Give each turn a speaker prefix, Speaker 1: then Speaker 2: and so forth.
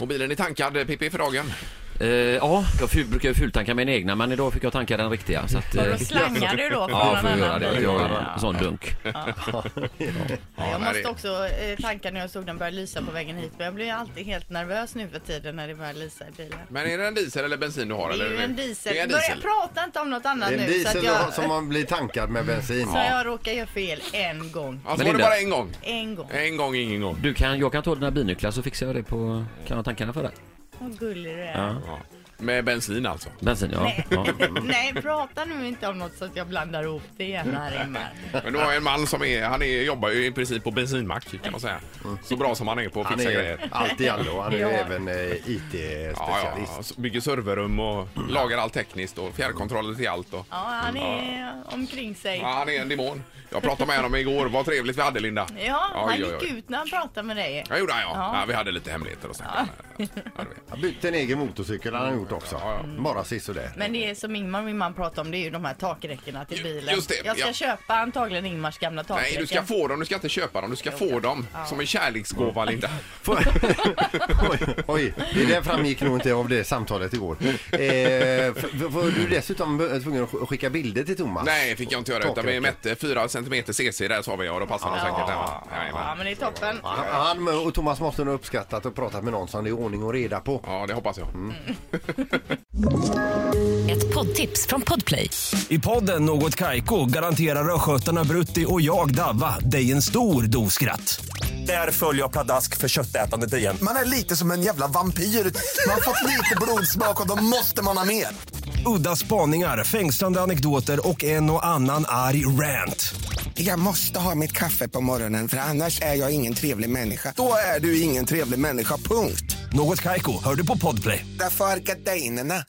Speaker 1: Mobilen är tankad, Pippi, för dagen.
Speaker 2: Eh, ja, jag ful, brukar ju fultanka mina egna men idag fick jag tanka den riktiga. Så att, eh,
Speaker 3: Och då slangar du då från
Speaker 2: ja,
Speaker 3: någon
Speaker 2: får jag göra
Speaker 3: annan?
Speaker 2: det. Jag har en sån dunk.
Speaker 3: Ja, jag
Speaker 1: nej,
Speaker 3: måste
Speaker 1: det-
Speaker 3: också eh, tanka när jag såg den börja lysa på vägen hit. Men jag blir ju alltid helt nervös nu för tiden när det börjar lysa i bilen.
Speaker 1: Men är det en diesel eller bensin du har?
Speaker 3: Det är
Speaker 1: eller?
Speaker 3: ju en diesel.
Speaker 1: Det är en
Speaker 3: Börja
Speaker 1: diesel.
Speaker 3: prata inte om något annat
Speaker 4: Det är en
Speaker 3: nu. Så,
Speaker 4: diesel
Speaker 3: att jag,
Speaker 4: som man blir tankad med bensin.
Speaker 3: så jag råkar göra fel en gång.
Speaker 1: Alltså, var
Speaker 2: Men
Speaker 1: det
Speaker 2: Linda-
Speaker 1: bara en gång?
Speaker 3: En gång.
Speaker 1: En gång, ingen gång.
Speaker 2: Du kan, jag kan ta dina binycklar så fixar jag det på... Kan jag tankarna för dig?
Speaker 3: Vad gullig du är.
Speaker 1: Med bensin alltså.
Speaker 2: Bensin ja.
Speaker 3: Nej.
Speaker 2: ja.
Speaker 3: Nej, prata nu inte om något så att jag blandar ihop det gärna rimmar.
Speaker 1: Men du har en man som är, han är, jobbar ju i princip på bensinmack kan man säga. Så bra som han är på att
Speaker 4: Han
Speaker 1: fixa
Speaker 4: är
Speaker 1: grejer.
Speaker 4: alltid allo. Han är
Speaker 3: Ja.
Speaker 4: även eh,
Speaker 1: Ja,
Speaker 4: IT-specialist.
Speaker 1: ja, bygger serverrum och lagar allt tekniskt och fjärrkontroller till allt. Och...
Speaker 3: Ja, han är omkring sig.
Speaker 1: Ja, han är en demon. Jag pratade med honom igår. Vad trevligt vi hade, Linda.
Speaker 3: Ja, han
Speaker 1: Oj, oj,
Speaker 3: gick
Speaker 1: oj.
Speaker 3: ut när han pratade med dig.
Speaker 1: Ja, gjorde han, ja.
Speaker 3: Ja.
Speaker 1: ja. Vi hade lite hemligheter och snackade. Ja. Ja, du vet.
Speaker 4: Han bytte en egen motorcykel han har gjort också.
Speaker 1: Mm.
Speaker 4: Bara sisådär.
Speaker 3: Men det är som Ingmar min man pratar om, det är ju de här takräckena till
Speaker 1: Ju-
Speaker 3: bilen.
Speaker 1: just det,
Speaker 3: jag ska
Speaker 1: ja.
Speaker 3: köpa antagligen Ingmars gamla takräcken.
Speaker 1: Nej, du ska få dem. Du ska inte köpa dem. Du ska få dem som en kärleksgåva, Linda.
Speaker 4: oj, oj, det där framgick nog inte av det samtalet igår. Eh, f- f- var du dessutom b- tvungen att sk- skicka bilder till Thomas?
Speaker 1: Nej, fick jag inte göra. Utan vi
Speaker 4: Takräcket.
Speaker 1: mätte 4 cm CC där sa vi och då passade de säkert hemma.
Speaker 3: Ja,
Speaker 1: Jajamän.
Speaker 3: men det är toppen.
Speaker 4: Han, han och Thomas måste nog ha uppskattat och pratat med någon som det är ordning och reda på.
Speaker 1: Ja, det hoppas jag.
Speaker 5: Ett poddtips från Podplay.
Speaker 6: I podden Något Kaiko garanterar östgötarna Brutti och jag, Davva, dig en stor dos skratt. Där följer jag pladask för köttätandet igen.
Speaker 7: Man är lite som en jävla vampyr. Man har fått lite blodsmak och då måste man ha mer.
Speaker 6: Udda spaningar, fängslande anekdoter och en och annan arg rant.
Speaker 7: Jag måste ha mitt kaffe på morgonen för annars är jag ingen trevlig människa. Då är du ingen trevlig människa, punkt.
Speaker 6: Något Kaiko, hör du på Podplay.
Speaker 7: Därför arkadeinerna.